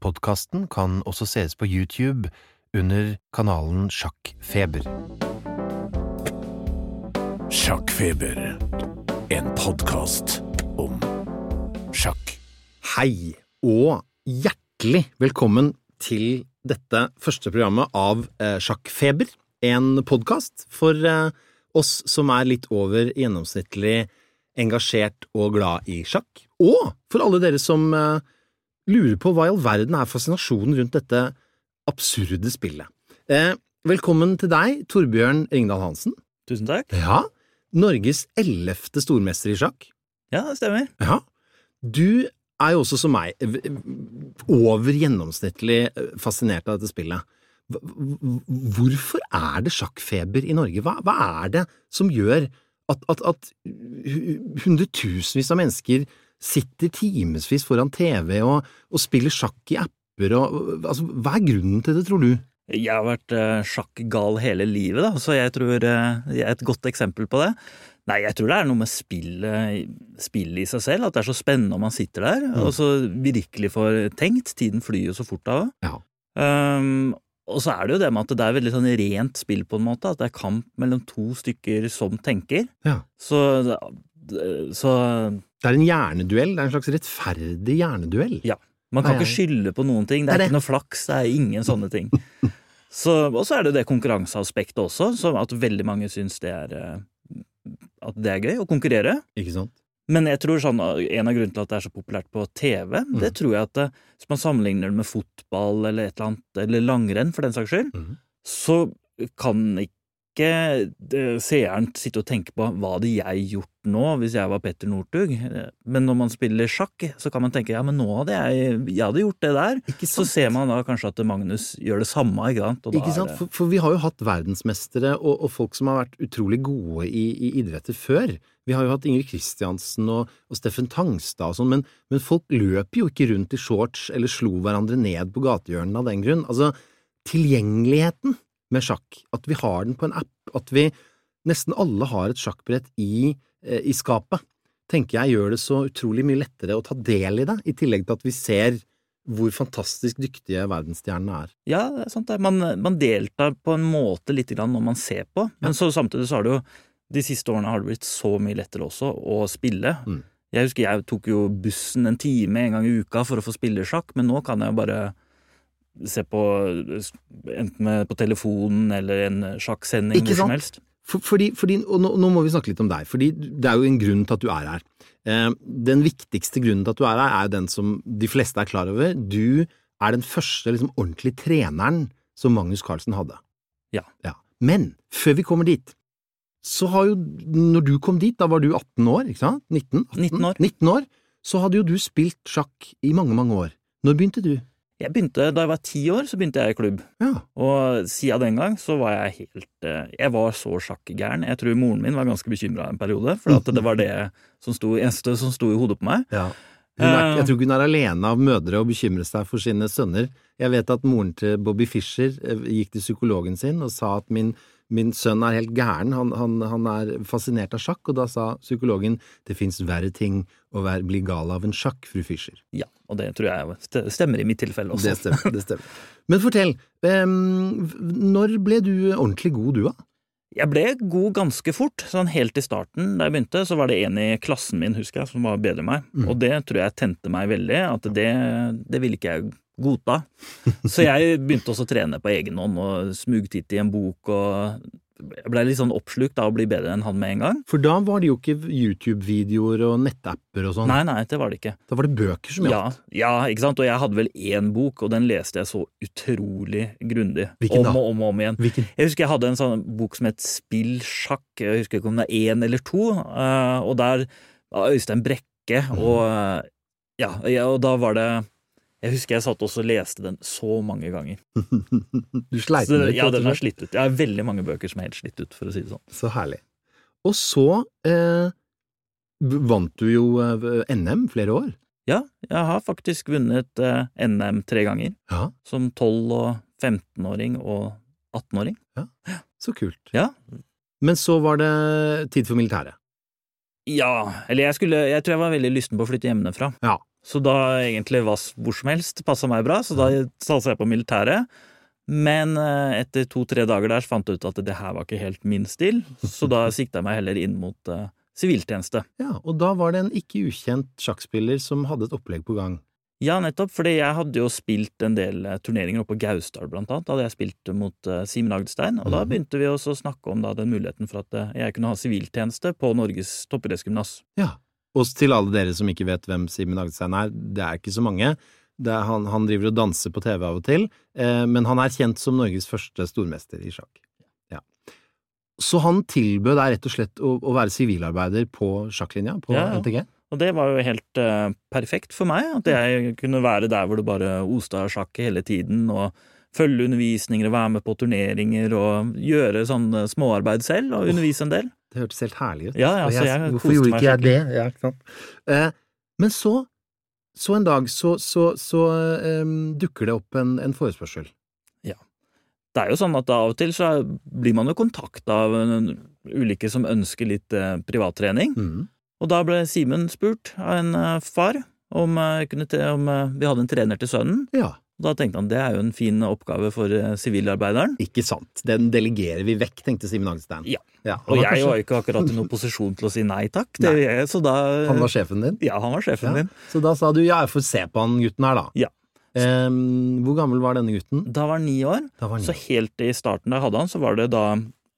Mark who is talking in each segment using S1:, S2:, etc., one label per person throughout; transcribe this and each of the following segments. S1: Podkasten kan også sees på YouTube under kanalen Sjakkfeber.
S2: Sjakkfeber. En podkast om sjakk.
S3: Hei, og hjertelig velkommen til dette første programmet av eh, Sjakkfeber. En podkast for eh, oss som er litt over gjennomsnittlig engasjert og glad i sjakk. Og for alle dere som eh, lurer på hva i all verden er fascinasjonen rundt dette absurde spillet. Eh, velkommen til deg, Torbjørn Ringdal Hansen.
S4: Tusen takk.
S3: Ja, Norges ellevte stormester i sjakk.
S4: Ja, det stemmer.
S3: Ja. Du er jo også som meg v- v- over gjennomsnittlig eh, fascinert av dette spillet. Hva- hva- Hvorfor er det sjakkfeber i Norge? Hva, hva er det som gjør at, at, at hu- hundretusenvis av mennesker sitter timevis foran TV og, og spiller sjakk i apper og altså, Hva er grunnen til det, tror du?
S4: Jeg har vært eh, sjakkgal hele livet, da, så jeg tror eh, jeg er et godt eksempel på det. Nei, jeg tror det er noe med spillet spillet i seg selv, at det er så spennende om man sitter der,
S3: Mm.
S4: og så virkelig får tenkt. Tiden flyr jo så fort av det.
S3: Ja.
S4: Ehm, og så er det jo det med at det er veldig sånn rent spill, på en måte, at det er kamp mellom to stykker som tenker.
S3: Ja.
S4: Så, så
S3: Det er en hjerneduell. Det er en slags rettferdig hjerneduell.
S4: Man kan
S3: Nei,
S4: ikke skylde på noen ting.
S3: Det
S4: Det er,
S3: er det.
S4: ikke noe flaks, det er ingen sånne ting. Så, og så er det det konkurranseaspektet også, som at veldig mange syns det er eh, at det er gøy å konkurrere.
S3: Ikke sant?
S4: Men jeg tror sånn, en av grunnene til at det er så populært på TV,
S3: Mm.
S4: det tror jeg at eh, hvis man sammenligner det med fotball eller et eller annet, eller langrenn for den saks skyld,
S3: Mhm.
S4: så kan ikke eh, seeren sitte og tenke på hva hadde jeg gjort nå hvis jeg var Petter Northug? Eh, Men når man spiller sjakk, så kan man tenke ja, men nå hadde jeg, jeg hadde gjort det der.
S3: Ikke
S4: Så ser man da kanskje at Magnus gjør det samme, ikke sant? Og da
S3: Sånn. Ikke
S4: er
S3: sant?
S4: det-
S3: For, for vi har jo hatt verdensmestere og, og folk som har vært utrolig gode i, i idretter før. Vi har jo hatt Ingrid Kristiansen og, og Steffen Tangstad og sånn, men, men folk løp jo ikke rundt i shorts eller slo hverandre ned på gatehjørnene av den grunn. Altså, tilgjengeligheten med sjakk, at vi har den på en app, at vi nesten alle har et sjakkbrett i, eh, i skapet, tenker jeg gjør det så utrolig mye lettere å ta del i det, i tillegg til at vi ser hvor fantastisk dyktige verdensstjernene er.
S4: Ja, det er sant det. Man, man deltar på en måte litt grann når man ser på, men så samtidig så har det jo De siste årene har det blitt så mye lettere også å spille.
S3: Mm.
S4: Jeg husker jeg tok jo bussen en time en gang i uka for å få spille sjakk, men nå kan jeg jo bare se på enten med- på telefonen eller en sjakksending
S3: Ikke
S4: hvor
S3: sant?
S4: som helst.
S3: For, fordi, fordi, og nå, nå må vi snakke litt om deg, fordi det er jo en grunn til at du er her. Eh, den viktigste grunnen til at du er her, er jo den som de fleste er klar over. Du er den første liksom, ordentlige treneren som Magnus Carlsen hadde.
S4: Ja.
S3: Men før vi kommer dit, så har jo Når du kom dit, da var du 18 år, ikke sant? 19? 18?
S4: 19 år.
S3: 19 år. Så hadde jo du spilt sjakk i mange, mange år. Når begynte du?
S4: Jeg begynte, Da jeg var ti år, så begynte jeg i klubb.
S3: Ja.
S4: Og siden den gang så var jeg helt eh, Jeg var så sjakkgæren. Jeg tror moren min var ganske bekymra en periode, for at det var det som sto, eneste som sto i hodet på meg.
S3: Hun er,
S4: Eh.
S3: jeg tror ikke hun er alene av mødre å bekymre seg for sine sønner. Jeg vet at moren til Bobby Fischer eh, gikk til psykologen sin og sa at min, min sønn er helt gæren, han, han, han er fascinert av sjakk, og da sa psykologen det fins verre ting å være, bli gal av enn sjakk, fru Fischer.
S4: Ja, Og det tror jeg st- stemmer i mitt tilfelle også.
S3: Det stemmer. det stemmer. Men fortell, em, når ble du ordentlig god, du, da?
S4: Jeg ble god ganske fort. sånn Helt i starten da jeg begynte, så var det en i klassen min husker jeg, som var bedre enn meg.
S3: Mm.
S4: Og det tror jeg tente meg veldig. At det, det ville ikke jeg godta. Så jeg begynte også å trene på egen hånd og smugtitte i en bok. og Jeg blei litt sånn oppslukt av å bli bedre enn han med en gang.
S3: For da var det jo ikke YouTube-videoer og nettapper og sånn.
S4: Nei, nei, det var det ikke.
S3: Da var det bøker som
S4: Ja,
S3: gjaldt.
S4: ja, ikke sant? Og jeg hadde vel én bok, og den leste jeg så utrolig grundig.
S3: Hvilken
S4: om
S3: da?
S4: og om og om igjen.
S3: Hvilken?
S4: Jeg husker jeg hadde en sånn bok som het Spill sjakk, jeg husker ikke om det er én eller to, eh, og der var Øystein Brekke,
S3: Mm.
S4: og eh, ja, ja, og da var det Jeg husker jeg satt også og leste den så mange ganger.
S3: Du sleit
S4: Så,
S3: med det?
S4: ja,
S3: rett og
S4: den er
S3: slett.
S4: slitt ut. Jeg har veldig mange bøker som er helt slitt ut, for å si det sånn.
S3: Så herlig. Og så eh, v- vant du jo eh, NM flere år.
S4: Ja, jeg har faktisk vunnet eh, NM tre ganger,
S3: Ja.
S4: som 12- og 15-åring og 18-åring.
S3: Så kult.
S4: Ja.
S3: Men så var det tid for militæret.
S4: Ja, eller jeg skulle Jeg tror jeg var veldig lysten på å flytte hjemmefra.
S3: Ja.
S4: Så da egentlig hva, s- hvor som helst passa meg bra, så da satsa jeg på militæret. Men eh, etter to-tre dager der så fant jeg ut at det her var ikke helt min stil, så da sikta jeg meg heller inn mot eh, siviltjeneste.
S3: Ja, og da var det en ikke ukjent sjakkspiller som hadde et opplegg på gang.
S4: Ja, nettopp, fordi jeg hadde jo spilt en del eh, turneringer oppe på Gausdal, blant annet. Da hadde jeg spilt mot eh, Simen Agdestein, og da
S3: Mhm.
S4: begynte vi også å snakke om da, den muligheten for at eh, jeg kunne ha siviltjeneste på Norges toppidrettsgymnas.
S3: Ja. Og til alle dere som ikke vet hvem Simen Agdestein er, det er ikke så mange. Det er, han, han driver og danser på TV av og til, eh, men han er kjent som Norges første stormester i sjakk. Ja. Så han tilbød deg rett og slett å, å være sivilarbeider på sjakklinja på
S4: Ja, ja.
S3: NTG?
S4: Og det var jo helt eh, perfekt for meg, at jeg kunne være der hvor det bare osta av sjakk hele tiden, og følge undervisninger og være med på turneringer og gjøre sånn eh, småarbeid selv, og undervise en del.
S3: Det hørtes helt herlig ut.
S4: Ja, ja,
S3: Og
S4: så jeg
S3: hvorfor
S4: koste
S3: gjorde
S4: meg
S3: ikke altså, jeg
S4: skikkelig.
S3: det? Ja, ikke sant? Eh, men så, så en dag, så, så, så eh, dukker det opp en, en forespørsel.
S4: Det er jo sånn at av og til så blir man jo kontakta av en- ulike som ønsker litt eh, privattrening,
S3: Mm.
S4: og da ble Simen spurt av en eh, far om, eh, kunne te- om eh, vi hadde en trener til sønnen.
S3: Ja,
S4: Og da tenkte han det er jo en fin oppgave for eh, sivilarbeideren.
S3: ikke sant. Den delegerer vi vekk, tenkte Simen Agdestein.
S4: Ja.
S3: han
S4: Og
S3: var
S4: jeg
S3: kanskje-
S4: var jo ikke akkurat i noen posisjon til å si nei takk, det, så da
S3: Han var sjefen din?
S4: Ja, han var sjefen
S3: Ja.
S4: min.
S3: Så da sa du ja, jeg får se på han gutten her, da.
S4: Ja.
S3: Eh, hvor gammel var denne gutten?
S4: Da var han ni år,
S3: Da var han
S4: så helt i starten da jeg hadde han, så var det da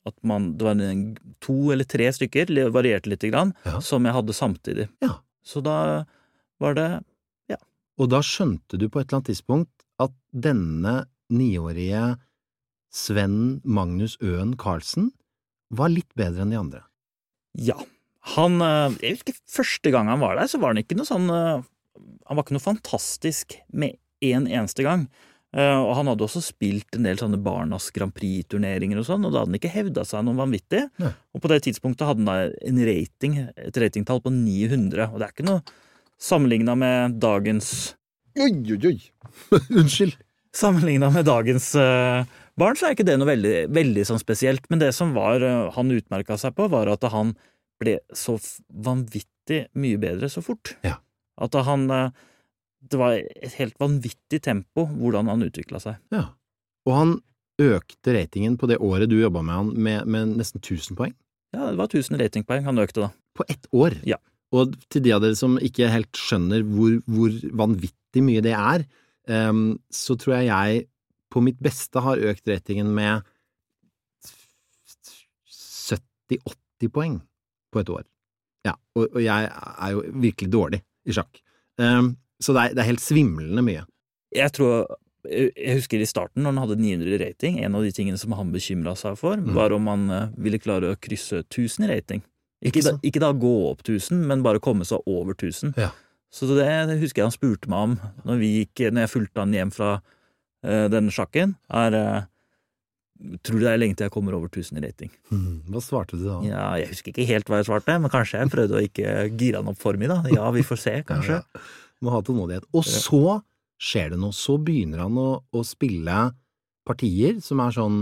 S4: at man, det var en, to eller tre stykker, det varierte lite grann,
S3: Ja.
S4: som jeg hadde samtidig.
S3: Ja.
S4: Så da var det
S3: Og da skjønte du på et eller annet tidspunkt at denne niårige Sven Magnus Øen Carlsen var litt bedre enn de andre.
S4: Ja. Han eh, Jeg husker første gang han var der, så var han ikke noe sånn eh, Han var ikke noe fantastisk med én eneste gang. Eh, Og han hadde også spilt en del sånne Barnas Grand Prix-turneringer og sånn, og da hadde han ikke hevda seg noe vanvittig.
S3: Nei.
S4: Og på det tidspunktet hadde han da en rating, et ratingtall på 900, og det er ikke noe sammenligna med dagens
S3: Oi, oi, oi! Unnskyld.
S4: Sammenligna med dagens eh, barn, så er ikke det noe veldig, veldig sånn spesielt. Men det som var, eh, han utmerka seg på, var at han ble så f- vanvittig mye bedre så fort.
S3: Ja.
S4: At han eh, Det var et helt vanvittig tempo hvordan han utvikla seg.
S3: Ja. Og han økte ratingen på det året du jobba med han, med, med nesten 1000 poeng.
S4: Ja, det var 1000 ratingpoeng han økte da.
S3: På ett år.
S4: Ja.
S3: Og til de av dere som ikke helt skjønner hvor, hvor vanvittig mye det er, ehm, så tror jeg jeg på mitt beste har økt ratingen med 70-80 poeng på et år. Ja, og, og jeg er jo virkelig dårlig i sjakk. Ehm, så det er, det er helt svimlende mye.
S4: Jeg tror jeg jeg husker i starten, når han hadde 900 i rating, en av de tingene som han bekymra seg for,
S3: Mm.
S4: var om han eh, ville klare å krysse 1000 i rating. Ikke,
S3: Ikke
S4: da,
S3: sant?
S4: ikke da gå opp 1000, men bare komme seg over 1000.
S3: Ja.
S4: Så det, det husker jeg han spurte meg om når, vi gikk, når jeg fulgte han hjem fra eh, denne sjakken. Er eh, Tror du det er lenge til jeg kommer over 1000 i rating?
S3: Hmm, Hva svarte du da?
S4: Ja, jeg husker ikke helt hva jeg svarte, men kanskje jeg prøvde å ikke gire han opp for mye, da. Ja, vi får se, kanskje.
S3: Ja, ja. Må ha tålmodighet. Og så skjer det noe. Så begynner han å, å spille partier som er sånn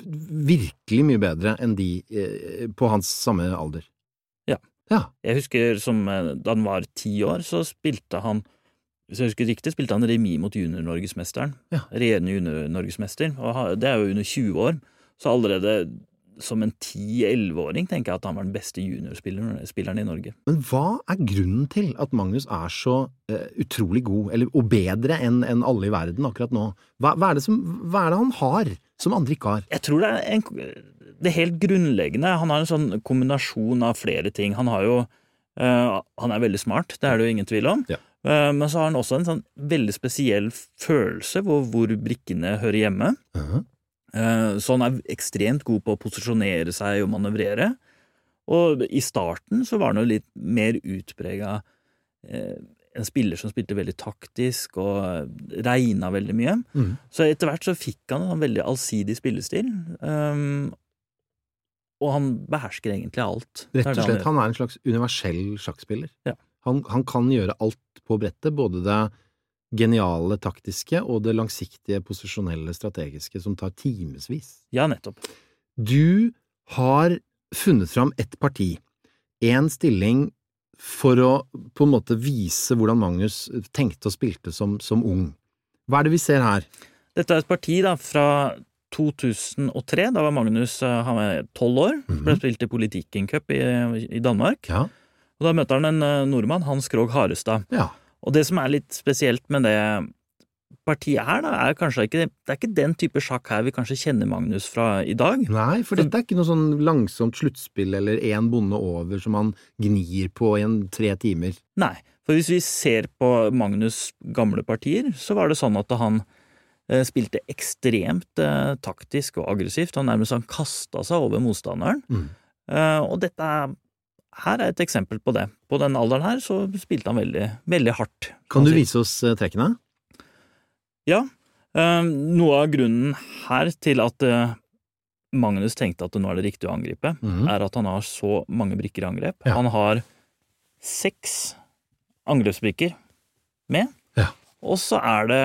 S3: Virkelig mye bedre enn de eh, på hans samme alder.
S4: Ja.
S3: ja.
S4: Jeg husker som eh, da han var ti år, så spilte han hvis jeg husker riktig, spilte han remis mot junior-norgesmesteren.
S3: Ja.
S4: Regjerende junior-norgesmester. og ha- Det er jo under 20 år. Så allerede som en 10-11-åring tenker jeg at han var den beste juniorspilleren spilleren i Norge.
S3: Men hva er grunnen til at Magnus er så eh, utrolig god, eller, og bedre enn enn alle i verden akkurat nå? Hva, hva, er det som, hva er det han har som andre ikke har?
S4: Jeg tror det er en, det er helt grunnleggende. Han har en sånn kombinasjon av flere ting. Han har jo eh, Han er veldig smart, det er det jo ingen tvil om.
S3: Ja.
S4: Eh, men så har han også en sånn veldig spesiell følelse hvor, hvor brikkene hører hjemme.
S3: Mhm.
S4: Eh, Så han er ekstremt god på å posisjonere seg og manøvrere. Og i starten så var han jo litt mer utprega eh, en spiller som spilte veldig taktisk og regna veldig mye.
S3: Mhm.
S4: Så etter hvert så fikk han en veldig allsidig spillestil. ehm, og han behersker egentlig alt. Det
S3: Rett
S4: er
S3: og
S4: det
S3: slett,
S4: gjør.
S3: han er en slags universell sjakkspiller.
S4: Ja.
S3: Han, han kan gjøre alt på brettet, både det geniale taktiske og det langsiktige posisjonelle strategiske, som tar timevis.
S4: Ja, nettopp.
S3: Du har funnet fram ett parti, én stilling for å på en måte vise hvordan Magnus tenkte og spilte som, som ung. Hva er det vi ser her?
S4: Dette er et parti da, fra 2003. Da var Magnus eh, han var tolv år.
S3: Mhm.
S4: Ble spilt i Politikken Cup i, i Danmark.
S3: Ja.
S4: Og Da møter han en eh, nordmann, Hans Krogh Harestad.
S3: ja.
S4: Og det som er litt spesielt med det partiet her, da, er kanskje ikke Det er ikke den type sjakk her vi kanskje kjenner Magnus fra i dag.
S3: Nei, for dette er ikke noe sånn langsomt sluttspill eller én bonde over som han gnir på i en tre timer.
S4: Nei, for hvis vi ser på Magnus' gamle partier, så var det sånn at han eh, spilte ekstremt eh, taktisk og aggressivt. Han nærmest han kasta seg over motstanderen.
S3: Mm.
S4: Eh, og dette er- her er et eksempel på det. På den alderen her så spilte han veldig, veldig hardt.
S3: Kan du
S4: Altså,
S3: vise oss eh, trekkene?
S4: Ja. eh, noe av grunnen her til at eh, Magnus tenkte at nå er det riktig å angripe,
S3: Mhm.
S4: er at han har så mange brikker i angrep.
S3: Ja.
S4: Han har seks angrepsbrikker med,
S3: Ja.
S4: og så er det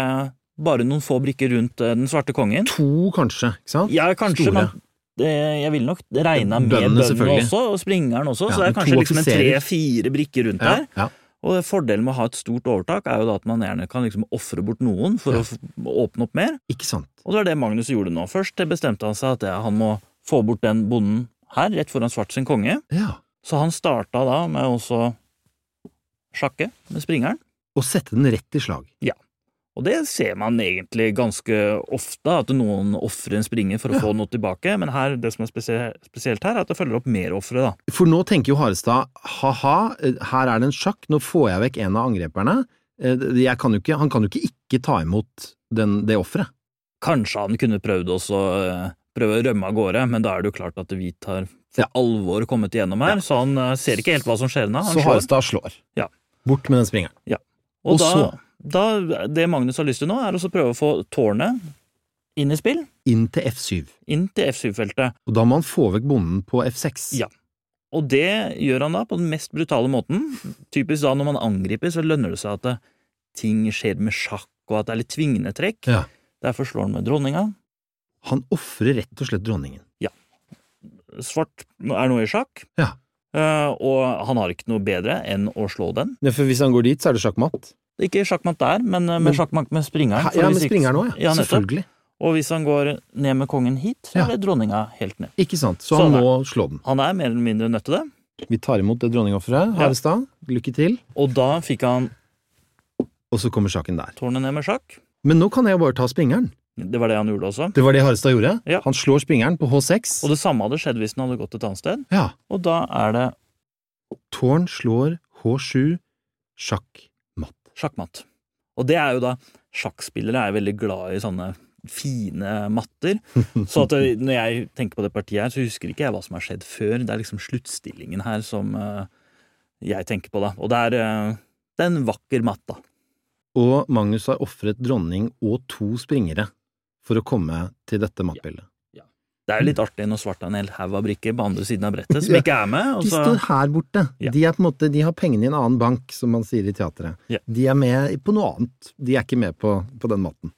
S4: bare noen få brikker rundt eh, den svarte kongen.
S3: To, kanskje, ikke sant?
S4: Ja, kanskje,
S3: Store.
S4: men det- jeg ville nok regna med
S3: Bøndene,
S4: bøndene
S3: selvfølgelig.
S4: også, og springeren også,
S3: Ja,
S4: så det
S3: men
S4: er kanskje
S3: to
S4: liksom en
S3: offiserer.
S4: tre-fire brikker rundt
S3: ja,
S4: der.
S3: ja.
S4: Og fordelen med å ha et stort overtak er jo da at man gjerne kan liksom ofre bort noen for
S3: Ja.
S4: å f- åpne opp mer,
S3: Ikke sant.
S4: og det var det Magnus gjorde nå. Først bestemte han seg at ja, han må få bort den bonden her, rett foran svart sin konge.
S3: Ja.
S4: Så han starta da med også sjakke med springeren.
S3: Og sette den rett i slag.
S4: Og det ser man egentlig ganske ofte, at noen ofrer en springer for å
S3: Ja.
S4: få noe tilbake. Men her, det som er spesie- spesielt her, er at det følger opp mer ofre, da.
S3: For nå tenker jo Harestad ha-ha, eh, her er det en sjakk, nå får jeg vekk en av angreperne. Eh, Jeg kan jo ikke, han kan jo ikke ikke ta imot den, det offeret.
S4: Kanskje han kunne prøvd også eh, prøve å rømme av gårde, men da er det jo klart at hvit har for
S3: Ja.
S4: alvor kommet igjennom her, så han eh, ser ikke helt hva som skjer nå. Han
S3: Så
S4: slår.
S3: Harestad slår.
S4: Ja.
S3: Bort med den springeren. Og
S4: Og da,
S3: så-
S4: da, det Magnus har lyst til nå, er også å prøve å få tårnet inn i spill,
S3: Inn til F7.
S4: inn til F7-feltet.
S3: Og da må han få vekk bonden på F6.
S4: Ja. Og det gjør han da på den mest brutale måten. Typisk da når man angriper, så lønner det seg at det, ting skjer med sjakk, og at det er litt tvingende trekk.
S3: Ja.
S4: Derfor slår han med dronninga.
S3: Han ofrer rett og slett dronningen.
S4: Svart er noe i sjakk,
S3: Ja.
S4: Eh, og han har ikke noe bedre enn å slå den.
S3: Ja, for hvis han går dit, så er det sjakkmatt.
S4: Ikke sjakkmatt der, men eh,
S3: Men-
S4: med sjakkmatt med springeren. for
S3: Ja, men
S4: hvis ikke-
S3: springeren òg, ja.
S4: Ja, nettopp.
S3: Selvfølgelig.
S4: sånn. Og hvis han går ned med kongen hit, så
S3: Ja.
S4: er det dronninga helt ned.
S3: Ikke sant. Så
S4: Sånn
S3: han
S4: er
S3: må slå den.
S4: Han er mer eller mindre nødt til det.
S3: Vi tar imot det dronningofferet, Harestad. Lykke til.
S4: Og da fikk han
S3: Og så kommer sjakken der.
S4: tårnet ned med sjakk.
S3: Men nå kan jeg jo bare ta springeren.
S4: Det var det han gjorde også.
S3: Det var det Harestad gjorde.
S4: Ja.
S3: Han slår springeren på H6.
S4: Og det samme hadde skjedd hvis den hadde gått et annet sted.
S3: Ja.
S4: Og da er det
S3: Tårn slår H7, sjakk, matt.
S4: sjakkmatt. Og det er jo da Sjakkspillere er veldig glad i sånne fine matter. Så at det, når jeg tenker på det partiet her, så husker ikke jeg hva som har skjedd før. Det er liksom sluttstillingen her som eh, jeg tenker på, da. Og det er, eh, det er en vakker matt, da.
S3: Og Magnus har ofret dronning og to springere for å komme til dette mattbildet.
S4: Det er jo litt artig når svart har en hel haug av brikker på andre siden av brettet som
S3: Ja.
S4: ikke er med. Og
S3: De
S4: så,
S3: står her borte.
S4: Altså- Ja.
S3: De, er på en måte, de har pengene i en annen bank, som man sier i teatret.
S4: Ja.
S3: De er med på noe annet. De er ikke med på, på den matten.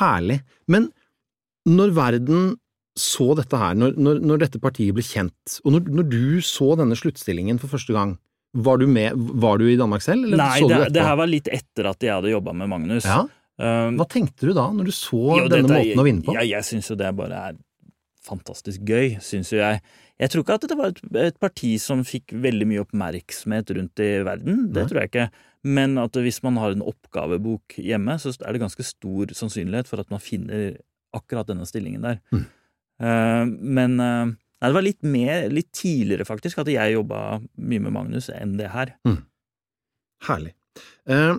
S3: Herlig. Men når verden så dette her, når, når, når dette partiet ble kjent, og når, når du så denne sluttstillingen for første gang, var du med, var du i Danmark selv, eller
S4: nei,
S3: så du
S4: det,
S3: etterpå?
S4: det her var litt etter at jeg hadde jobba med Magnus.
S3: Ja?
S4: Um,
S3: Hva tenkte du da, når du så
S4: Jo,
S3: denne
S4: dette er-
S3: måten å vinne på?
S4: Ja, jeg syns jo det bare er fantastisk gøy, syns jo jeg. Jeg tror ikke at det var et, et parti som fikk veldig mye oppmerksomhet rundt i verden, det
S3: Nei.
S4: tror jeg ikke. Men at hvis man har en oppgavebok hjemme, så er det ganske stor sannsynlighet for at man finner akkurat denne stillingen der.
S3: Mm.
S4: Eh, men eh, nei, det var litt, mer, litt tidligere, faktisk, at jeg jobba mye med Magnus enn det her.
S3: Herlig. Eh,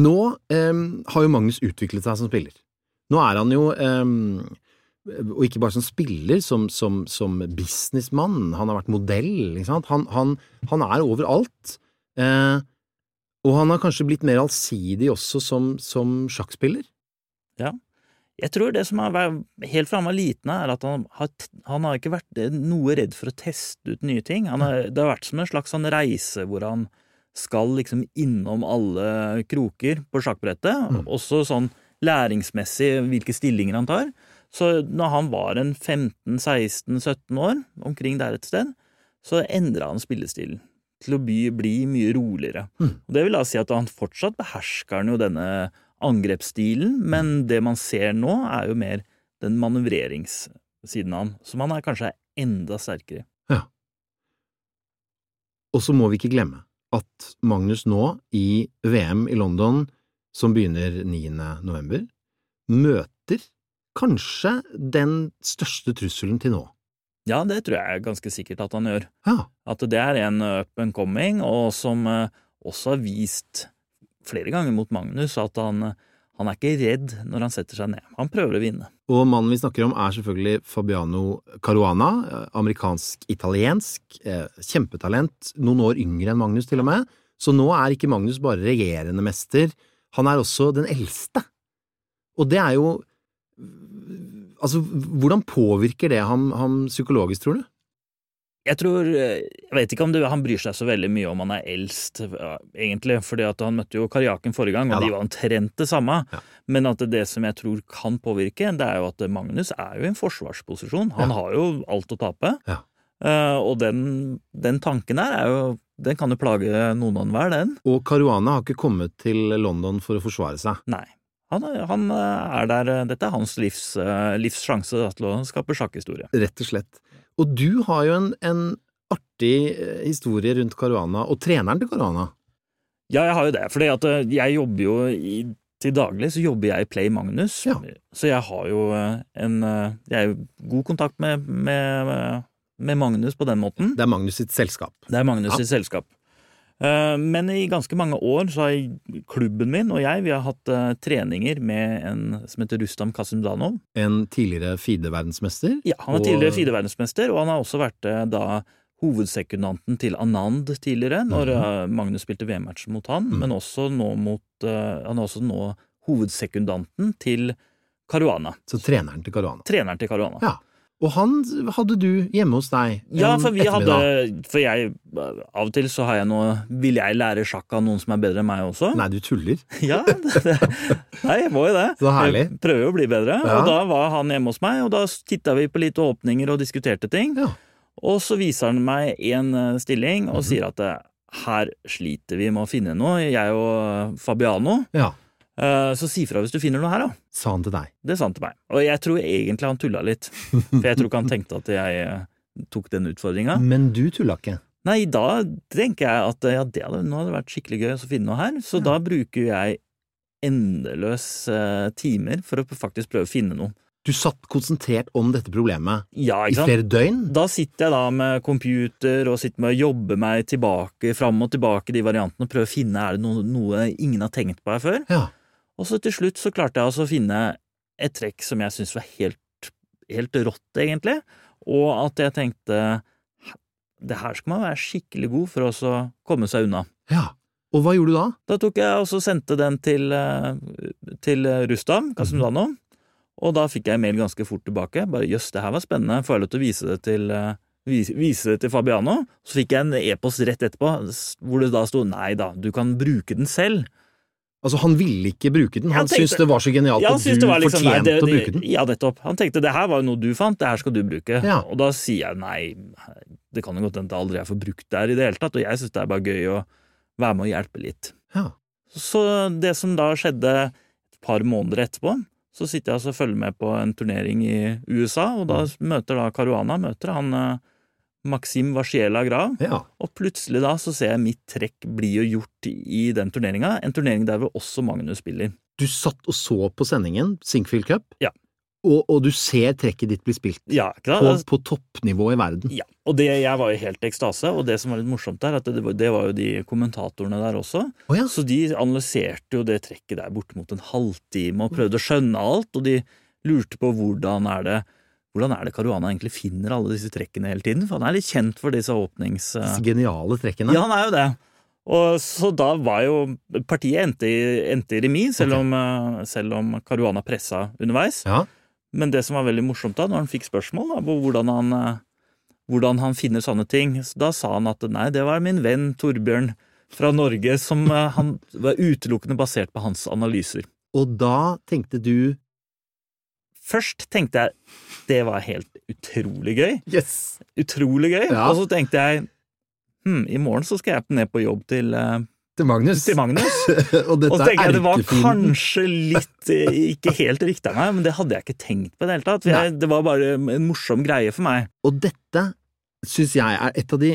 S3: nå eh, har jo Magnus utviklet seg som spiller. Nå er han jo eh, Og ikke bare som spiller, som, som, som businessmann. Han har vært modell, ikke sant. Han, han, han er overalt. Eh, og han har kanskje blitt mer allsidig også som, som sjakkspiller.
S4: Jeg tror det som har vært helt fra han var liten, er at han har, t- han har ikke vært noe redd for å teste ut nye ting. Han har, det har vært som en slags sånn reise hvor han skal liksom innom alle kroker på sjakkbrettet.
S3: Mm.
S4: Også sånn læringsmessig hvilke stillinger han tar. Så når han var en 15-16-17 år, omkring der et sted, så endra han spillestilen til å bli, bli mye roligere.
S3: Mm.
S4: Og det vil da si at han fortsatt behersker han jo denne angrepsstilen, men det man ser nå, er jo mer den manøvreringssiden av han, som han er kanskje er enda sterkere i.
S3: Og så må vi ikke glemme at Magnus nå, i VM i London, som begynner 9. november, møter kanskje den største trusselen til nå.
S4: Ja, det tror jeg er ganske sikkert at han gjør.
S3: Ja,
S4: At det er en eh, up and coming, og som eh, også har vist flere ganger mot Magnus at han, eh, han er ikke redd når han setter seg ned. Han prøver å vinne.
S3: og mannen vi snakker om er selvfølgelig Fabiano Caruana, eh, amerikansk-italiensk, eh, kjempetalent, noen år yngre enn Magnus til og med, så nå er ikke Magnus bare regjerende mester, han er også den eldste. Og det er jo… Altså, hvordan påvirker det ham, ham psykologisk, tror du?
S4: Jeg tror, eh, jeg vet ikke om det, han bryr seg så veldig mye om han er eldst, ja, egentlig, fordi at han møtte jo Karjaken forrige gang, og
S3: Ja da.
S4: de var omtrent det samme.
S3: Ja.
S4: Men at det som jeg tror kan påvirke, det er jo at Magnus er jo i en forsvarsposisjon. Han
S3: Ja.
S4: har jo alt å tape,
S3: Ja.
S4: Eh, og den, den tanken der er jo, den kan jo plage noen og enhver, den.
S3: Og Caruana har ikke kommet til London for å forsvare seg.
S4: Nei. Han, er- han er der, dette er hans livs, eh, livssjanse da, til å skape sjakkhistorie.
S3: Rett og slett. Og du har jo en, en artig eh, historie rundt Caruana, og treneren til Caruana.
S4: Ja, jeg har jo det. Fordi at eh, jeg jobber jo i, til daglig så jobber jeg i Play Magnus.
S3: Ja.
S4: Så jeg har jo eh, en eh, Jeg har jo god kontakt med, med, med Magnus på den måten.
S3: Det er Magnus sitt selskap.
S4: Det er Magnus
S3: Ja.
S4: sitt selskap. Eh, Men i ganske mange år så har jeg- klubben min og jeg vi har hatt eh, treninger med en som heter Rustam Kasimdanov.
S3: En tidligere FIDE-verdensmester.
S4: Ja, han
S3: Og-
S4: er tidligere FIDE-verdensmester, og han har også vært eh, da hovedsekundanten til Anand tidligere, når eh, Magnus spilte VM-matchen mot han,
S3: Mhm.
S4: men også nå mot eh, Han er også nå hovedsekundanten til Caruana.
S3: Så treneren til Caruana.
S4: Treneren til Caruana.
S3: Ja. Og han hadde du hjemme hos deg en
S4: Ja, for vi hadde
S3: ettermiddag.
S4: For jeg eh, Av og til så har jeg noe Vil jeg lære sjakk av noen som er bedre enn meg også?
S3: Nei, du tuller.
S4: Ja, det, det, nei, jeg må jo det.
S3: Så herlig.
S4: Jeg prøver jo å bli bedre.
S3: Ja.
S4: Og da var han hjemme hos meg, og da titta vi på litt åpninger og diskuterte ting.
S3: Ja.
S4: Og så viser han meg en eh, stilling og sier at eh, her sliter vi med å finne noe, jeg og eh, Fabiano.
S3: Ja.
S4: Eh, Så si fra hvis du finner noe her, da.
S3: Sa han til deg.
S4: Det sa han til meg. Og jeg tror egentlig han tulla litt. For jeg tror ikke han tenkte at jeg eh, tok den utfordringa.
S3: Men du tulla ikke.
S4: Nei, da tenker jeg at ja, det hadde, nå hadde det vært skikkelig gøy å finne noe her, så da bruker jeg endeløs eh, timer for å faktisk prøve å finne noe.
S3: Du satt konsentrert om dette problemet
S4: Ja,
S3: i
S4: ikke sant?
S3: flere døgn.
S4: Da sitter jeg da med computer og sitter med å jobbe meg tilbake, fram og tilbake de variantene og prøve å finne er det noe, noe ingen har tenkt på her før.
S3: Ja.
S4: Og så til slutt så klarte jeg altså å finne et trekk som jeg syntes var helt, helt rått, egentlig, og at jeg tenkte det her skal man være skikkelig god for å så komme seg unna.
S3: ja. Og hva gjorde du da?
S4: Da tok jeg og så sendte den til, eh, til Rustam, Kasimdano,
S3: Mhm.
S4: og da fikk jeg mail ganske fort tilbake. Bare jøss, det her var spennende, får jeg lov til å vise det til eh, Vise, vise det til Fabiano, så fikk jeg en e-post rett etterpå s- hvor det da sto 'nei da, du kan bruke den selv'.
S3: Altså, han ville ikke bruke den. Han
S4: Han tenkte-
S3: syntes det var så genialt
S4: Ja, han
S3: at Altså, du
S4: syntes det var liksom, nei,
S3: fortjente
S4: det-
S3: å bruke
S4: det-
S3: den.
S4: Ja, nettopp. Han tenkte 'det her var jo noe du fant, det her skal du bruke'.
S3: Ja.
S4: Og da sier jeg nei, det kan jo godt hende aldri jeg får brukt det her i det hele tatt, og jeg syns det er bare gøy å være med og hjelpe litt.
S3: Ja.
S4: Så det som da skjedde et par måneder etterpå, så sitter jeg altså og følger med på en turnering i USA, og da møter da Caruana møter han eh, Maxim Vashiela Grav,
S3: Ja.
S4: og plutselig da så ser jeg mitt trekk bli jo gjort i den turneringa, en turnering der hvor også Magnus spiller.
S3: Du satt og så på sendingen, Sinkfield Cup,
S4: Ja.
S3: og, og du ser trekket ditt bli spilt
S4: Ja, altså- ikke
S3: på,
S4: da?
S3: på toppnivå i verden.
S4: Ja, og det, jeg var jo helt i ekstase, og det som var litt morsomt der, at det, var- det var jo de kommentatorene der også,
S3: Å ja.
S4: Så de analyserte jo det trekket der bortimot en halvtime og prøvde å skjønne alt, og de lurte på hvordan er det hvordan er det Caruana egentlig finner alle disse trekkene hele tiden? For han er litt kjent for disse åpnings...
S3: Disse geniale trekkene.
S4: Ja, han er jo det. Og så da var jo Partiet endte i, endte i remis, selv,
S3: Ok.
S4: om, eh, selv om Caruana pressa underveis.
S3: Ja.
S4: Men det som var veldig morsomt da, når han fikk spørsmål da, på hvordan han, eh, hvordan han finner sånne ting, så da sa han at nei, det var min venn Torbjørn fra Norge som eh, han var utelukkende basert på hans analyser.
S3: Og da tenkte du
S4: Først tenkte jeg det var helt utrolig gøy,
S3: Yes!
S4: utrolig gøy,
S3: Ja.
S4: og så tenkte jeg hm, i morgen så skal jeg ned på jobb til, eh,
S3: Til Magnus.
S4: til Magnus.
S3: og dette
S4: Og så tenker jeg
S3: er
S4: det var
S3: erkefienden.
S4: kanskje litt eh, ikke helt riktig av meg, men det hadde jeg ikke tenkt på i det hele tatt. for Jeg, det var bare en morsom greie for meg.
S3: Og dette syns jeg er et av de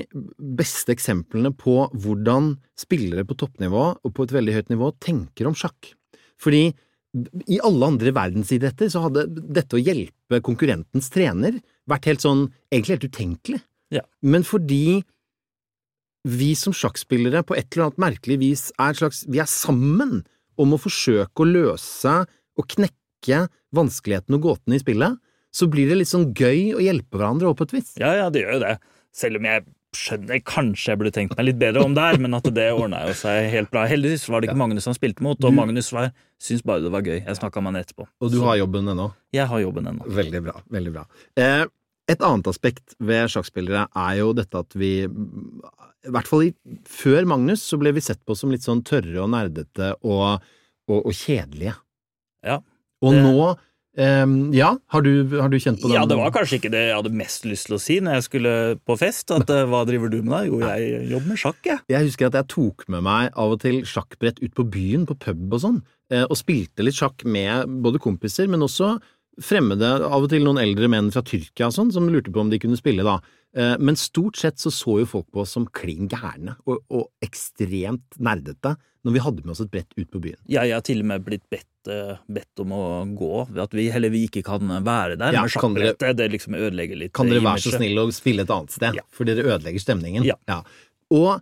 S3: beste eksemplene på hvordan spillere på toppnivå og på et veldig høyt nivå tenker om sjakk. Fordi i alle andre verdensidretter så hadde dette å hjelpe konkurrentens trener vært helt sånn egentlig helt utenkelig.
S4: Ja.
S3: Men fordi vi som sjakkspillere på et eller annet merkelig vis er et slags Vi er sammen om å forsøke å løse og knekke vanskelighetene og gåtene i spillet, så blir det litt sånn gøy å hjelpe hverandre også på et vis.
S4: Ja, ja, det gjør jo det. Selv om jeg skjønner Kanskje jeg burde tenkt meg litt bedre om der, men at det ordna jo seg helt bra. Heldigvis var det ikke Magnus han spilte mot, og Magnus var, syntes bare det var gøy. Jeg snakka med han etterpå.
S3: Mm. Og du har jobben ennå.
S4: Jeg har jobben ennå.
S3: Veldig bra. veldig bra. Eh, et annet aspekt ved sjakkspillere er jo dette at vi I hvert fall i, før Magnus så ble vi sett på som litt sånn tørre og nerdete og, og, og kjedelige.
S4: Ja.
S3: Og
S4: Det-
S3: nå ehm, Ja, har du, har du kjent på den?
S4: Ja, det var kanskje ikke det jeg hadde mest lyst til å si når jeg skulle på fest. At eh, hva driver du med da? Jo, jeg jobber med sjakk, jeg.
S3: Jeg husker at jeg tok med meg av og til sjakkbrett ut på byen, på pub og sånn, eh, og spilte litt sjakk med både kompiser, men også fremmede, av og til noen eldre menn fra Tyrkia og sånn, som lurte på om de kunne spille da. Eh, Men stort sett så så jo folk på oss som klin gærne og, og ekstremt nerdete når vi hadde med oss et brett ut på byen.
S4: Jeg har til og med blitt bedt, eh, bedt om å gå, ved at vi, eller vi ikke kan være der
S3: Ja,
S4: med
S3: kan dere-
S4: sjakkbrettet. Det liksom ødelegger litt
S3: Kan
S4: eh,
S3: dere være så
S4: imaget.
S3: snill å spille et annet sted,
S4: Ja.
S3: for dere ødelegger stemningen?
S4: Ja.
S3: Og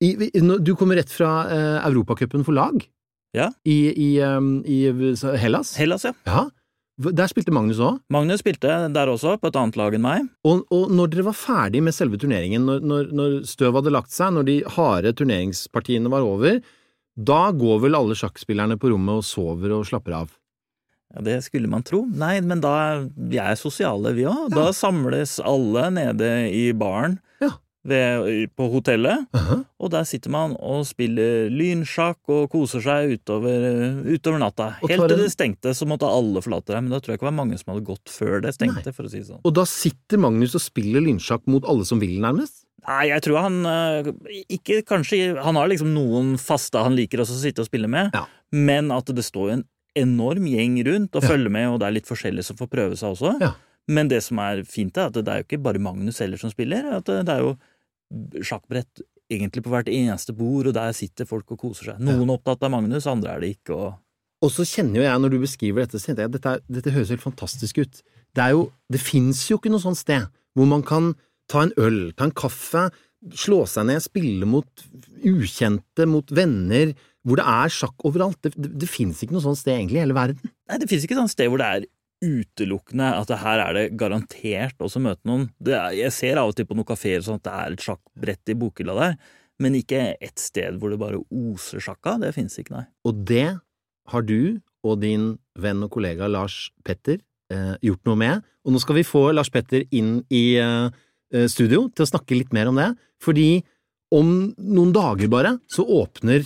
S3: i, i, nå- du kommer rett fra eh, Europacupen for lag
S4: Ja.
S3: i, i, eh, i Hellas.
S4: Hellas, ja.
S3: Ja, Hva- der spilte Magnus òg.
S4: Magnus spilte der også, på et annet lag enn meg.
S3: Og, og når dere var ferdig med selve turneringen, når, når, når støvet hadde lagt seg, når de harde turneringspartiene var over, da går vel alle sjakkspillerne på rommet og sover og slapper av?
S4: Ja, Det skulle man tro. Nei, men da vi er sosiale, vi òg. Da samles alle nede i baren
S3: Ja.
S4: ved, på hotellet,
S3: Aha.
S4: og der sitter man og spiller lynsjakk og koser seg utover, utover natta.
S3: Og
S4: Helt
S3: tar
S4: til
S3: en-
S4: det stengte, så måtte alle forlate det. Men da tror jeg ikke det var mange som hadde gått før det stengte, for å si det sånn.
S3: Og da sitter Magnus og spiller lynsjakk mot alle som vil, nærmest?
S4: Nei, jeg tror han øh, ikke kanskje Han har liksom noen faste han liker også å sitte og spille med,
S3: Ja.
S4: men at det står jo en enorm gjeng rundt og følger med, og det er litt forskjellige som får prøve seg også.
S3: Ja.
S4: Men det som er fint, er at det er jo ikke bare Magnus heller som spiller. at Det det er jo sjakkbrett egentlig på hvert eneste bord, og der sitter folk og koser seg. Noen er opptatt av Magnus, andre er det ikke. og...
S3: Og så kjenner jo jeg, når du beskriver dette, så kjenner jeg at dette, er- dette høres helt fantastisk ut. Det er jo, det fins jo ikke noe sånt sted hvor man kan ta en øl, ta en kaffe, slå seg ned, spille mot ukjente, mot venner, hvor det er sjakk overalt. Det, det, det fins ikke noe sånt sted egentlig i hele verden.
S4: Nei, det finnes ikke sånn sted hvor det er utelukkende at det her er det garantert også å møte noen. Det er, jeg ser av og til på noen kafeer sånn at det er et sjakkbrett i bokhylla der, men ikke et sted hvor det bare oser sjakk av. Det finnes ikke, nei.
S3: Og det har du og din venn og kollega Lars Petter eh, gjort noe med. Og nå skal vi få Lars Petter inn i eh, eh, studio til å snakke litt mer om det. Fordi om noen dager bare så åpner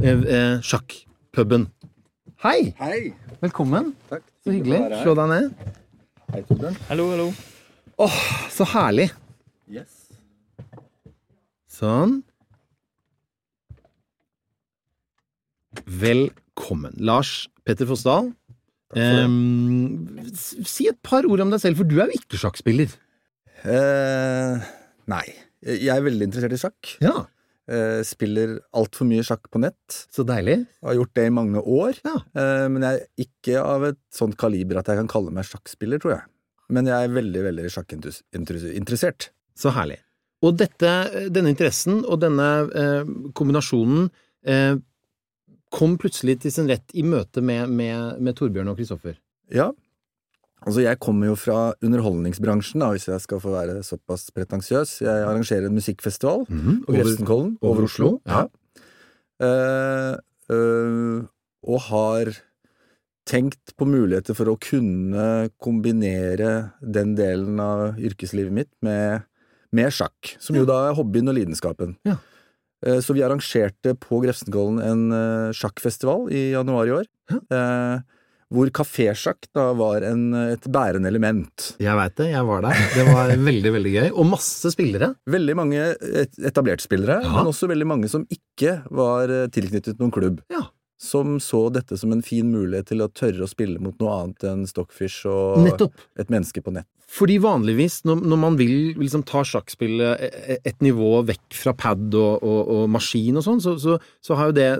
S3: eh, eh, sjakkpuben. Hei!
S5: Hei!
S3: Velkommen.
S5: Takk.
S3: Så hyggelig.
S5: å være her.
S3: Slå deg ned.
S5: Hei, Torbjørn.
S4: Hallo, hallo.
S3: Så herlig.
S5: Yes.
S3: Sånn. Velkommen. Lars Petter Fossdal. Ehm, s- si et par ord om deg selv, for du er jo ikke sjakkspiller.
S5: Eh, nei. Jeg er veldig interessert i sjakk.
S3: Ja.
S5: Eh, spiller altfor mye sjakk på nett.
S3: Så deilig.
S5: Og har gjort det i mange år.
S3: Ja.
S5: Eh, men jeg er ikke av et sånt kaliber at jeg kan kalle meg sjakkspiller, tror jeg. Men jeg er veldig, veldig sjakkinteressert.
S3: Så herlig. Og dette, denne interessen og denne eh, kombinasjonen eh, kom plutselig til sin rett i møte med, med, med Torbjørn og Kristoffer.
S5: Ja. Altså, jeg kommer jo fra underholdningsbransjen, da, hvis jeg skal få være såpass pretensiøs. Jeg arrangerer en musikkfestival.
S3: Over-
S5: Over Vefsnkollen, over, Oslo.
S3: ja.
S5: Ja. Eh, eh, og har tenkt på muligheter for å kunne kombinere den delen av yrkeslivet mitt med, med sjakk, som jo da er hobbyen og lidenskapen.
S3: Ja.
S5: Eh, Så vi arrangerte på Grefsenkollen en eh, sjakkfestival i januar i år. Eh, hvor kafésjakk da var en, eh, et bærende element.
S3: Jeg veit det, jeg var der. Det var veldig, veldig gøy. Og masse spillere.
S5: Veldig mange et- etablerte spillere,
S3: Ja.
S5: men også veldig mange som ikke var eh, tilknyttet noen klubb.
S3: Ja.
S5: Som så dette som en fin mulighet til å tørre å spille mot noe annet enn Stockfish og
S3: Nettopp.
S5: et menneske på nett.
S3: Fordi vanligvis, når, når man vil liksom, ta sjakkspillet e- e- et nivå vekk fra pad og, og, og maskin og sånn, så, så, så har jo det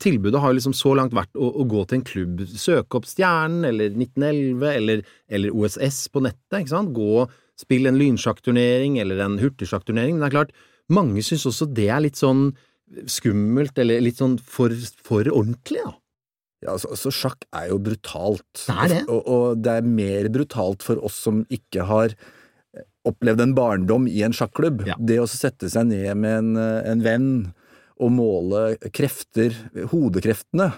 S3: tilbudet har jo liksom så langt vært å, å gå til en klubb. Søke opp Stjernen eller 1911 eller, eller OSS på nettet. ikke sant? Gå, Spill en lynsjakkturnering eller en hurtigsjakkturnering. Men det er klart, mange syns også det er litt sånn skummelt eller litt sånn for, for ordentlig, da.
S5: Ja, altså, altså, sjakk er jo brutalt.
S3: Det er det.
S5: Og, og det er mer brutalt for oss som ikke har eh, opplevd en barndom i en sjakklubb.
S3: Ja.
S5: Det å sette seg ned med en, eh, en venn og måle krefter, hodekreftene,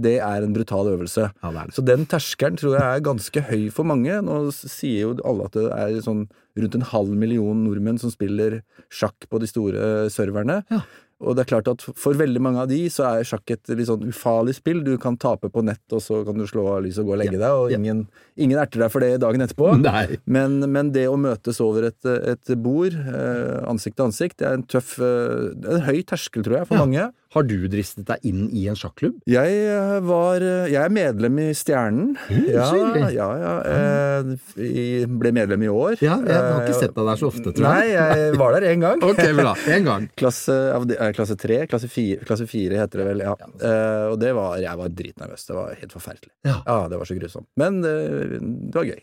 S5: det er en brutal øvelse.
S3: Ja, det er det.
S5: Så den terskelen tror jeg er ganske høy for mange. Nå s- sier jo alle at det er sånn rundt en halv million nordmenn som spiller sjakk på de store serverne.
S3: Ja.
S5: Og det er klart at for veldig mange av de så er sjakk et litt sånn ufarlig spill. Du kan tape på nett, og så kan du slå av lyset og gå og legge deg, og
S3: Ja.
S5: ingen, ingen erter deg for det dagen etterpå.
S3: Nei.
S5: Men, men det å møtes over et, et bord, eh, ansikt til ansikt, det er en tøff eh, det er En høy terskel, tror jeg, for
S3: Ja.
S5: mange.
S3: Har du dristet deg inn i en sjakklubb?
S5: Jeg eh, var eh, Jeg er medlem i Stjernen. Ja,
S3: så hyggelig.
S5: ja, ja. eh, Jeg ble medlem i år.
S3: Ja, jeg har
S5: Eh,
S3: ikke sett deg der så ofte, tror
S5: Nei,
S3: jeg.
S5: jeg var der én gang.
S3: Ok, bra. En gang.
S5: Klasse, avde- eh, klasse tre, klasse fire, klasse fire heter det vel. ja. Eh, Og det var, jeg var dritnervøs. Det var helt forferdelig.
S3: Ja.
S5: det var så grusomt. Men eh, det var gøy.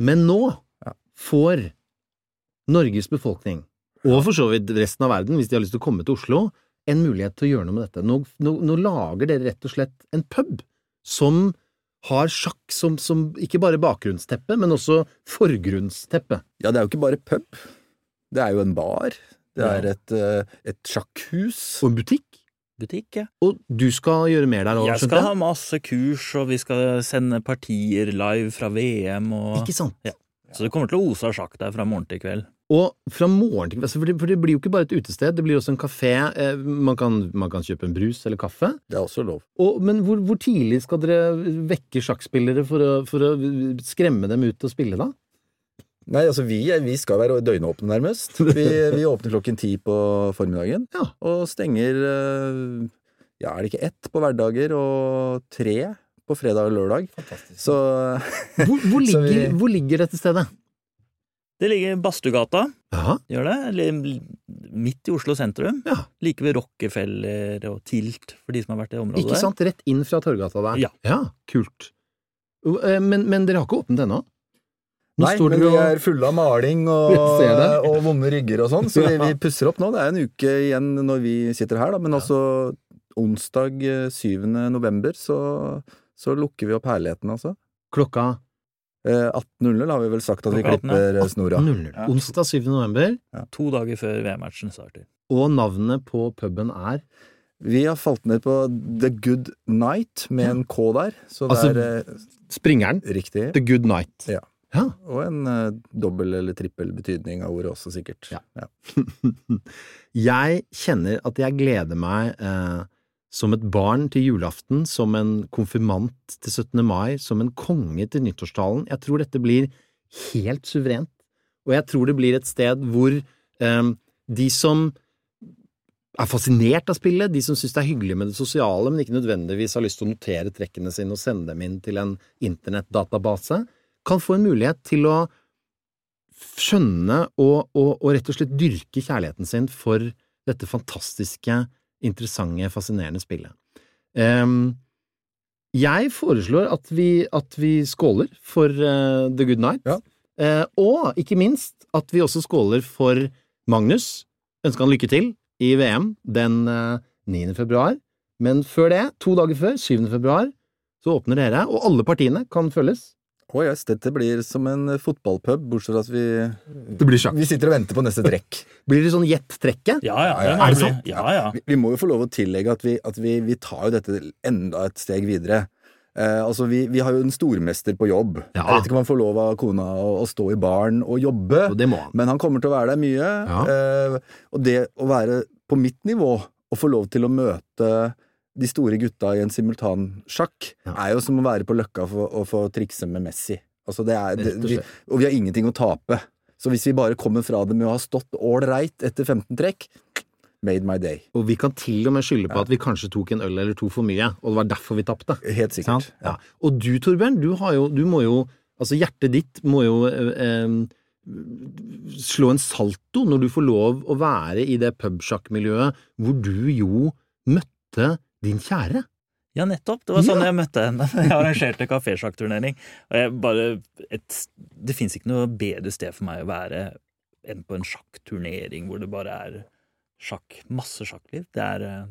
S3: Men nå
S5: Ja.
S3: får Norges befolkning, og for så vidt resten av verden, hvis de har lyst til å komme til Oslo, en mulighet til å gjøre noe med dette. Nå, nå, nå lager dere rett og slett en pub som har sjakk som, som ikke bare bakgrunnsteppe, men også forgrunnsteppe.
S5: Ja, det er jo ikke bare pub. Det er jo en bar. Det
S4: Ja.
S5: er et, eh, et sjakkhus.
S3: Og en butikk.
S4: Butikk, ja.
S3: Og du skal gjøre mer der òg,
S4: Jeg skal ha masse kurs, og vi skal sende partier live fra VM og
S3: Ikke sant?
S4: Så det kommer til å ose av sjakk der fra morgen til kveld.
S3: Og fra morgen til kveld, altså, for det, for det blir jo ikke bare et utested, det blir også en kafé. eh, Man kan, man kan kjøpe en brus eller kaffe.
S5: Det er også lov.
S3: Og, men hvor, hvor tidlig skal dere vekke sjakkspillere for å, for å skremme dem ut og spille, da?
S5: Nei, altså vi, er- vi skal være døgnåpne nærmest. Vi, vi åpner klokken ti på formiddagen
S3: Ja.
S5: og stenger eh, ja, er det ikke ett på hverdager og tre på fredag og lørdag. Så
S3: Hvor, hvor,
S5: Så
S3: ligger,
S5: vi-
S3: hvor ligger dette stedet?
S4: Det ligger i Badstugata,
S3: Ja,
S4: gjør det? Eller midt i Oslo sentrum.
S3: Ja.
S4: Like ved Rockefeller og Tilt, for de som har vært i området
S3: ikke sant? Rett inn fra Torgata der.
S4: Ja.
S3: kult. Og, eh, Men, men dere har ikke åpnet ennå? Nå
S5: Nei,
S3: står
S5: men
S3: dere
S5: vi
S3: og
S5: er fulle av maling og,
S3: Jeg ser det.
S5: og vonde rygger og sånn, så vi,
S3: Ja.
S5: vi pusser opp nå. Det er en uke igjen når vi sitter her, da, men altså onsdag eh, 7. november så, så lukker vi opp herligheten, altså.
S3: klokka
S5: Eh, 18.00 har vi vel sagt at vi
S4: Klokka 18, ja.
S5: klipper eh, snora.
S3: 00.
S4: Ja.
S3: Onsdag 7. november,
S4: To dager før VM-matchen starter.
S3: og navnet på puben er
S5: Vi har falt ned på The Good Night med en K der, så det
S3: Altså-
S5: er eh,
S3: Springeren.
S5: riktig.
S3: The Good Night.
S5: Ja.
S3: ja.
S5: Og en eh, dobbel eller trippel betydning av ordet også, sikkert.
S3: Ja. Jeg kjenner at jeg gleder meg eh, som et barn til julaften, som en konfirmant til 17. mai, som en konge til nyttårstalen. Jeg tror dette blir helt suverent, og jeg tror det blir et sted hvor eh, de som er fascinert av spillet, de som syns det er hyggelig med det sosiale, men ikke nødvendigvis har lyst til å notere trekkene sine og sende dem inn til en internettdatabase, kan få en mulighet til å skjønne og, og, og rett og slett dyrke kjærligheten sin for dette fantastiske, interessante, fascinerende spillet. Ehm, jeg foreslår at vi, at vi skåler for eh, The Good Night,
S5: Ja.
S3: Eh, og ikke minst at vi også skåler for Magnus. Ønsker han lykke til i VM den eh, 9. februar. Men før det, to dager før, 7. februar, så åpner dere, og alle partiene kan følges.
S5: Å yes, dette blir som en eh, fotballpub, bortsett fra at vi,
S3: Det blir sjakk.
S5: vi sitter og venter på neste trekk.
S3: Blir det sånn gjett-trekket?
S4: Ja, ja.
S5: Ja, ja.
S4: må
S5: Er det
S4: bli-
S5: sant?
S4: Ja, ja.
S5: Vi, vi må jo få lov å tillegge at vi, at vi, vi tar jo dette enda et steg videre. Eh, altså, vi, vi har jo en stormester på jobb.
S3: Ja.
S5: Jeg vet ikke om han får lov av kona å, å stå i baren og jobbe,
S3: Og det må han.
S5: men han kommer til å være der mye.
S3: Ja.
S5: Eh, og det å være på mitt nivå og få lov til å møte de store gutta i en simultansjakk
S3: Ja.
S5: er jo som å være på Løkka for, og få trikse med Messi. Altså det er, det,
S3: Rett og
S5: vi,
S3: slett.
S5: og vi har ingenting å tape. Så hvis vi bare kommer fra det med å ha stått ålreit etter 15 trekk, made my day.
S3: Og vi kan til og med skylde på at vi kanskje tok en øl eller to for mye, og det var derfor vi tapte.
S5: Helt sikkert.
S3: Sant? Ja. Og du, Torbjørn, du har jo, du må jo Altså, hjertet ditt må jo eh, eh, slå en salto når du får lov å være i det pubsjakkmiljøet hvor du jo møtte din kjære.
S4: Ja, nettopp. Det var sånn
S3: Ja.
S4: jeg møtte henne. Jeg arrangerte kafésjakkturnering. Og jeg bare et, Det fins ikke noe bedre sted for meg å være enn på en sjakkturnering hvor det bare er sjakk. Masse sjakkliv. Det er eh,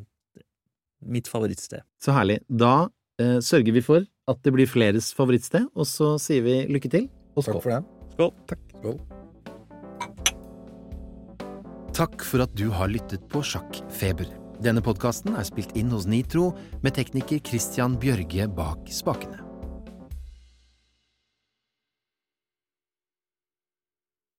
S4: mitt favorittsted.
S3: Så herlig. Da eh, sørger vi for at det blir fleres favorittsted, og så sier vi lykke til, og skål.
S5: Takk for det.
S4: Skål.
S1: Takk for at du har lyttet på Sjakkfeber. Denne podkasten er spilt inn hos Nitro med tekniker Christian Bjørge bak spakene.